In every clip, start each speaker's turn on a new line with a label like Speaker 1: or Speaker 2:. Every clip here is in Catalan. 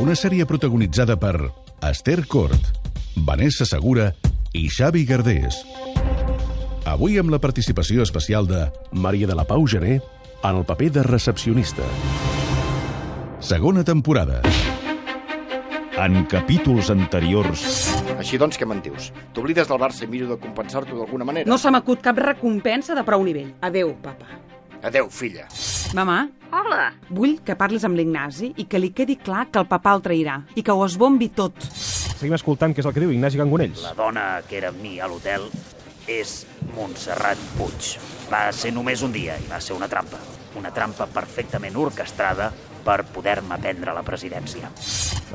Speaker 1: Una sèrie protagonitzada per Esther Cort, Vanessa Segura i Xavi Gardés. Avui amb la participació especial de Maria de la Pau Gené en el paper de recepcionista. Segona temporada.
Speaker 2: En capítols anteriors...
Speaker 3: Així doncs, què me'n dius? T'oblides del Barça i miro de compensar-t'ho d'alguna manera?
Speaker 4: No se m'acut cap recompensa de prou nivell. Adeu, papa.
Speaker 3: Adeu, filla.
Speaker 4: Mamà,
Speaker 5: Hola,
Speaker 4: vull que parlis amb l'Ignasi i que li quedi clar que el papà el trairà i que ho esbombi tot.
Speaker 6: Seguim escoltant què és el que diu Ignasi Gangonells.
Speaker 7: La dona que era amb mi a l'hotel és Montserrat Puig. Va ser només un dia i va ser una trampa. Una trampa perfectament orquestrada per poder-me prendre la presidència.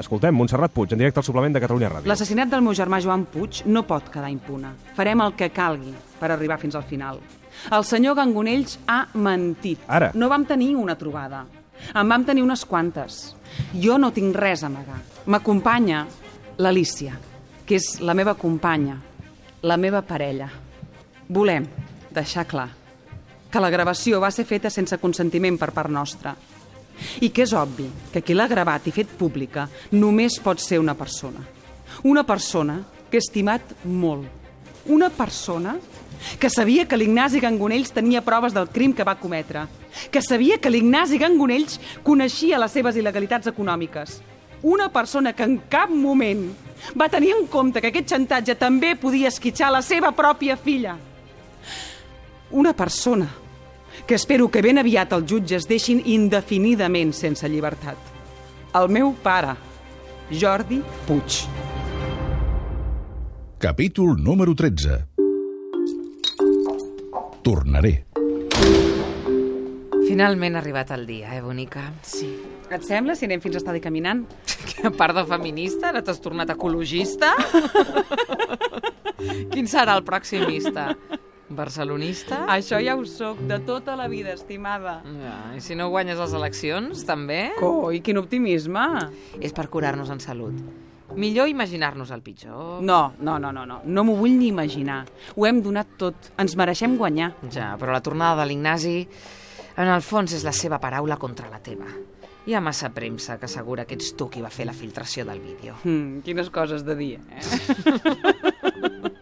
Speaker 6: Escoltem Montserrat Puig, en directe al suplement de Catalunya Ràdio.
Speaker 4: L'assassinat del meu germà Joan Puig no pot quedar impune. Farem el que calgui per arribar fins al final. El senyor Gangonells ha mentit.
Speaker 6: Ara.
Speaker 4: No vam tenir una trobada. En vam tenir unes quantes. Jo no tinc res a amagar. M'acompanya l'Alícia, que és la meva companya, la meva parella. Volem deixar clar que la gravació va ser feta sense consentiment per part nostra i que és obvi que qui l'ha gravat i fet pública només pot ser una persona. Una persona que he estimat molt. Una persona que sabia que l'Ignasi Gangonells tenia proves del crim que va cometre. Que sabia que l'Ignasi Gangonells coneixia les seves il·legalitats econòmiques. Una persona que en cap moment va tenir en compte que aquest xantatge també podia esquitxar la seva pròpia filla una persona que espero que ben aviat els jutges deixin indefinidament sense llibertat. El meu pare, Jordi Puig.
Speaker 1: Capítol número 13. Tornaré.
Speaker 8: Finalment ha arribat el dia, eh, bonica? Sí.
Speaker 4: Et sembla si anem fins a estar caminant?
Speaker 8: A part de feminista, ara t'has tornat ecologista? Quin serà el pròximista? Barcelonista?
Speaker 4: Això ja ho sóc, de tota la vida, estimada.
Speaker 8: Ja, I si no guanyes les eleccions, també?
Speaker 4: Coi, quin optimisme!
Speaker 8: És per curar-nos en salut. Millor imaginar-nos el pitjor.
Speaker 4: No, no, no, no, no. No m'ho vull ni imaginar. Ho hem donat tot. Ens mereixem guanyar.
Speaker 8: Ja, però la tornada de l'Ignasi, en el fons, és la seva paraula contra la teva. Hi ha massa premsa que assegura que ets tu qui va fer la filtració del vídeo.
Speaker 4: Hmm, quines coses de dir, eh?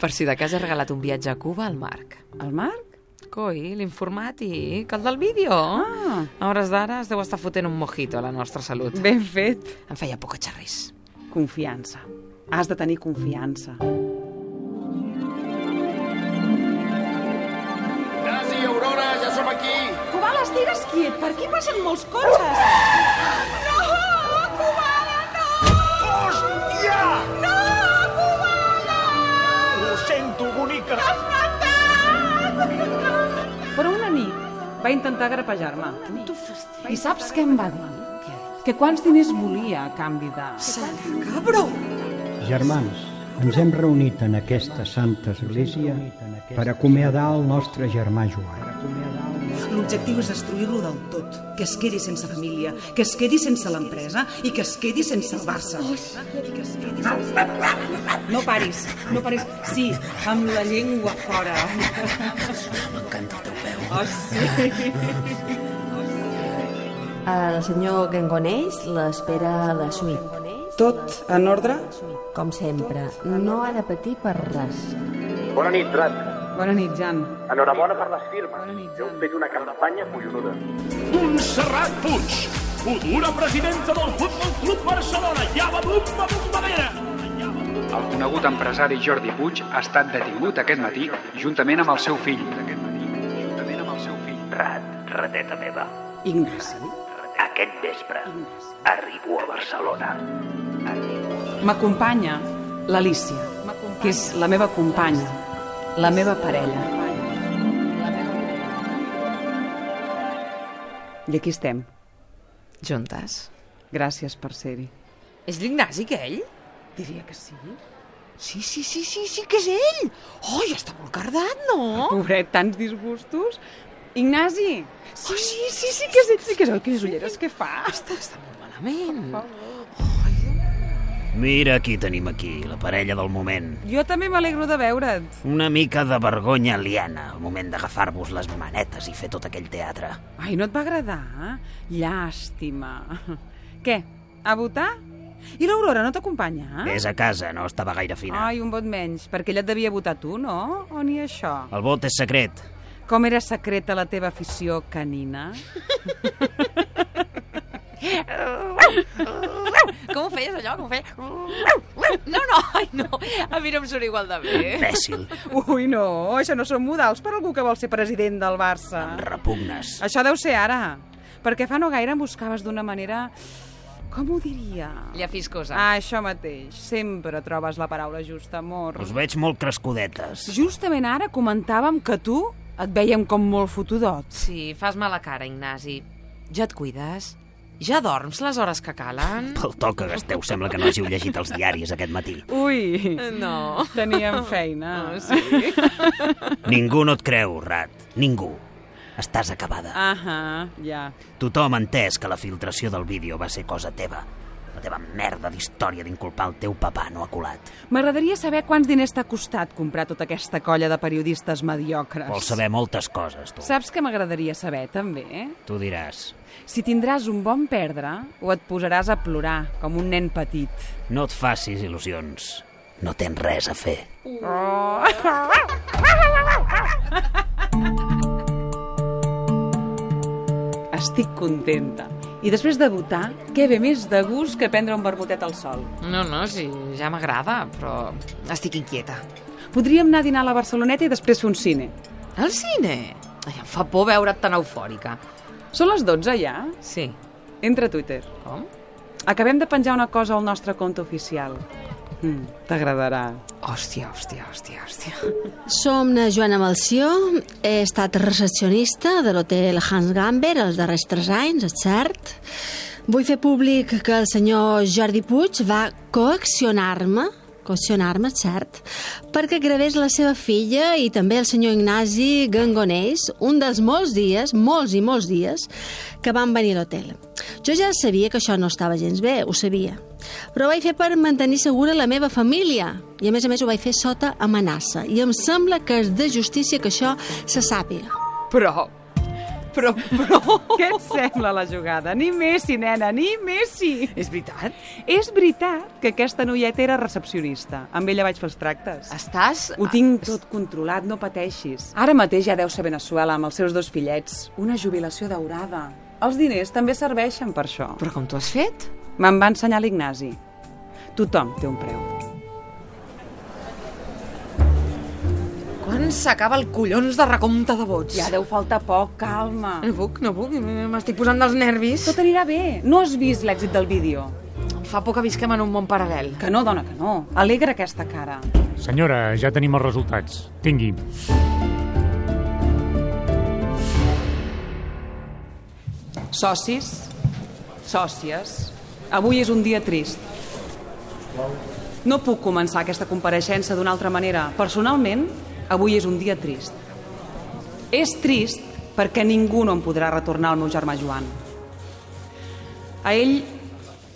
Speaker 8: Per si de cas he regalat un viatge a Cuba al Marc.
Speaker 4: El Marc?
Speaker 8: Coi, l'informàtic, el del vídeo.
Speaker 4: Ah.
Speaker 8: A hores d'ara es deu estar fotent un mojito a la nostra salut.
Speaker 4: Ben fet.
Speaker 8: Em feia por que xerrés.
Speaker 4: Confiança. Has de tenir confiança.
Speaker 3: Nasi i Aurora, ja som aquí!
Speaker 4: Cobales, estigues quiet! Per aquí passen molts cotxes! No! Cobala, no!
Speaker 3: Hòstia!
Speaker 4: No! Cobala!
Speaker 3: Ho sento, bonica!
Speaker 4: M'has matat! Però una nit va intentar grapejar-me. I saps què em va dir? Que quants diners volia a canvi de...
Speaker 9: Germans, ens hem reunit en aquesta santa església per acomiadar el nostre germà Joan.
Speaker 10: L'objectiu és destruir-lo del tot, que es quedi sense família, que es quedi sense l'empresa i que es quedi sense el Barça. I que es quedi sense...
Speaker 4: No paris, no paris. Sí, amb la llengua fora.
Speaker 10: Oh,
Speaker 11: El senyor Gangonells l'espera a la suite.
Speaker 10: Tot en ordre?
Speaker 11: Com sempre, no ha de patir per res.
Speaker 3: Bona nit, Rat.
Speaker 4: Bona nit, Jan.
Speaker 3: Enhorabona per les firmes. Heu fet una campanya collonuda.
Speaker 12: Montserrat Puig, futura presidenta del Futbol Club Barcelona. Llava bomba bombadera!
Speaker 13: El conegut empresari Jordi Puig ha estat detingut aquest matí juntament amb el seu fill. Juntament amb el seu fill.
Speaker 7: Rat, rateta meva,
Speaker 4: Ignasi,
Speaker 7: aquest vespre arribo a Barcelona.
Speaker 4: m'acompanya l'Alícia, que és la meva companya, la meva parella. I aquí estem.
Speaker 8: Juntes.
Speaker 4: Gràcies per ser-hi.
Speaker 8: És l'Ignasi, aquell?
Speaker 4: Diria que sí.
Speaker 8: Sí, sí, sí, sí, sí, que és ell! Oh, ja està molt cardat, no?
Speaker 4: Pobret, tants disgustos. Ignasi!
Speaker 8: Sí, sí,
Speaker 4: sí, sí, que és ell, sí, que és ell, quines ulleres que fa.
Speaker 8: Està, està molt malament.
Speaker 7: Mira qui tenim aquí, la parella del moment.
Speaker 4: Jo també m'alegro de veure't.
Speaker 7: Una mica de vergonya aliena, al moment d'agafar-vos les manetes i fer tot aquell teatre.
Speaker 4: Ai, no et va agradar? eh? Llàstima. Què, a votar? I l'Aurora no t'acompanya?
Speaker 7: Vés a casa, no estava gaire fina.
Speaker 4: Ah? Ai, un vot menys, perquè ella et devia votar tu, no? O ni això?
Speaker 7: El vot és secret.
Speaker 4: Com era secreta la teva afició canina?
Speaker 8: Com ho feies, allò? Com ho feies? No, no, ai, no. A mi no em surt igual de bé.
Speaker 7: Imbècil.
Speaker 4: Ui, no, això no són modals per algú que vol ser president del Barça.
Speaker 7: Repugnes.
Speaker 4: Això deu ser ara, perquè fa no gaire em buscaves d'una manera... Com ho diria?
Speaker 8: Llafiscosa.
Speaker 4: Ah, això mateix. Sempre trobes la paraula justa, amor.
Speaker 7: Us veig molt crescudetes.
Speaker 4: Justament ara comentàvem que tu et veiem com molt fotudot.
Speaker 8: Sí, fas mala cara, Ignasi. Ja et cuides? Ja dorms les hores que calen?
Speaker 7: Pel to que gasteu sembla que no hàgiu llegit els diaris aquest matí.
Speaker 4: Ui,
Speaker 8: No.
Speaker 4: teníem feina.
Speaker 8: Oh, sí.
Speaker 7: Ningú no et creu, Rat. Ningú. Estàs acabada.
Speaker 4: Ahà, ja.
Speaker 7: Tothom ha entès que la filtració del vídeo va ser cosa teva. La teva merda d'història d'inculpar el teu papà no ha colat.
Speaker 4: M'agradaria saber quants diners t'ha costat comprar tota aquesta colla de periodistes mediocres.
Speaker 7: Vols saber moltes coses, tu.
Speaker 4: Saps que m'agradaria saber, també? eh?
Speaker 7: Tu diràs.
Speaker 4: Si tindràs un bon perdre o et posaràs a plorar, com un nen petit.
Speaker 7: No et facis il·lusions. No tens res a fer.
Speaker 4: Estic contenta. I després de votar, què ve més de gust que prendre un vermutet al sol?
Speaker 8: No, no, sí, ja m'agrada, però estic inquieta.
Speaker 4: Podríem anar a dinar a la Barceloneta i després fer un cine.
Speaker 8: Al cine? Ai, em fa por veure't tan eufòrica.
Speaker 4: Són les 12 ja?
Speaker 8: Sí.
Speaker 4: Entra a Twitter.
Speaker 8: Com?
Speaker 4: Acabem de penjar una cosa al nostre compte oficial. Mm, T'agradarà.
Speaker 8: Hòstia, hòstia, hòstia, hòstia.
Speaker 11: Som na Joana Malció, he estat recepcionista de l'hotel Hans Gamber els darrers tres anys, és cert. Vull fer públic que el senyor Jordi Puig va coaccionar-me, coaccionar-me, és cert, perquè gravés la seva filla i també el senyor Ignasi Gangonés, un dels molts dies, molts i molts dies, que van venir a l'hotel. Jo ja sabia que això no estava gens bé, ho sabia. Però ho vaig fer per mantenir segura la meva família. I a més a més ho vaig fer sota amenaça. I em sembla que és de justícia que això se sàpiga.
Speaker 8: Però... Però, però...
Speaker 4: Què et sembla la jugada? Ni Messi, nena, ni Messi!
Speaker 8: És veritat?
Speaker 4: És veritat que aquesta noieta era recepcionista. Amb ella vaig fer els tractes.
Speaker 8: Estàs...
Speaker 4: Ho tinc tot controlat, no pateixis. Ara mateix ja deu ser Venezuela amb els seus dos fillets. Una jubilació daurada. Els diners també serveixen per això.
Speaker 8: Però com t'ho has fet?
Speaker 4: Me'n va ensenyar l'Ignasi. Tothom té un preu.
Speaker 8: Quan s'acaba el collons de recompte de vots?
Speaker 4: Ja deu faltar poc, calma.
Speaker 8: No puc, no puc, m'estic posant dels nervis.
Speaker 4: Tot anirà bé. No has vist l'èxit del vídeo.
Speaker 8: Em fa por que visquem en un món paral·lel.
Speaker 4: Que no, dona, que no. Alegra aquesta cara.
Speaker 5: Senyora, ja tenim els resultats. Tingui.
Speaker 4: Socis, sòcies, avui és un dia trist. No puc començar aquesta compareixença d'una altra manera. Personalment, avui és un dia trist. És trist perquè ningú no em podrà retornar el meu germà Joan. A ell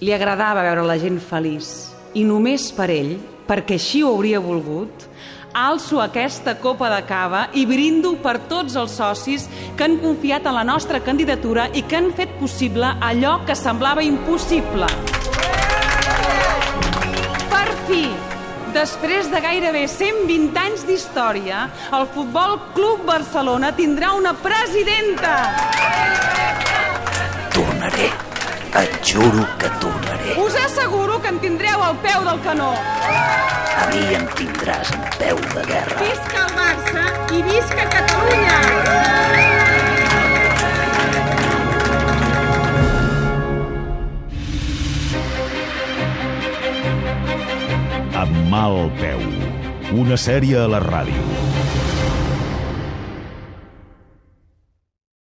Speaker 4: li agradava veure la gent feliç i només per ell, perquè així ho hauria volgut, alço aquesta copa de cava i brindo per tots els socis que han confiat en la nostra candidatura i que han fet possible allò que semblava impossible. Per fi, després de gairebé 120 anys d'història, el Futbol Club Barcelona tindrà una presidenta.
Speaker 7: Tornaré. Et juro que tornaré.
Speaker 4: Us asseguro que em tindreu al peu del canó.
Speaker 7: A mi em tindràs en peu de guerra.
Speaker 4: Visca el Barça i visca Catalunya!
Speaker 2: Amb mal peu. Una sèrie a la ràdio.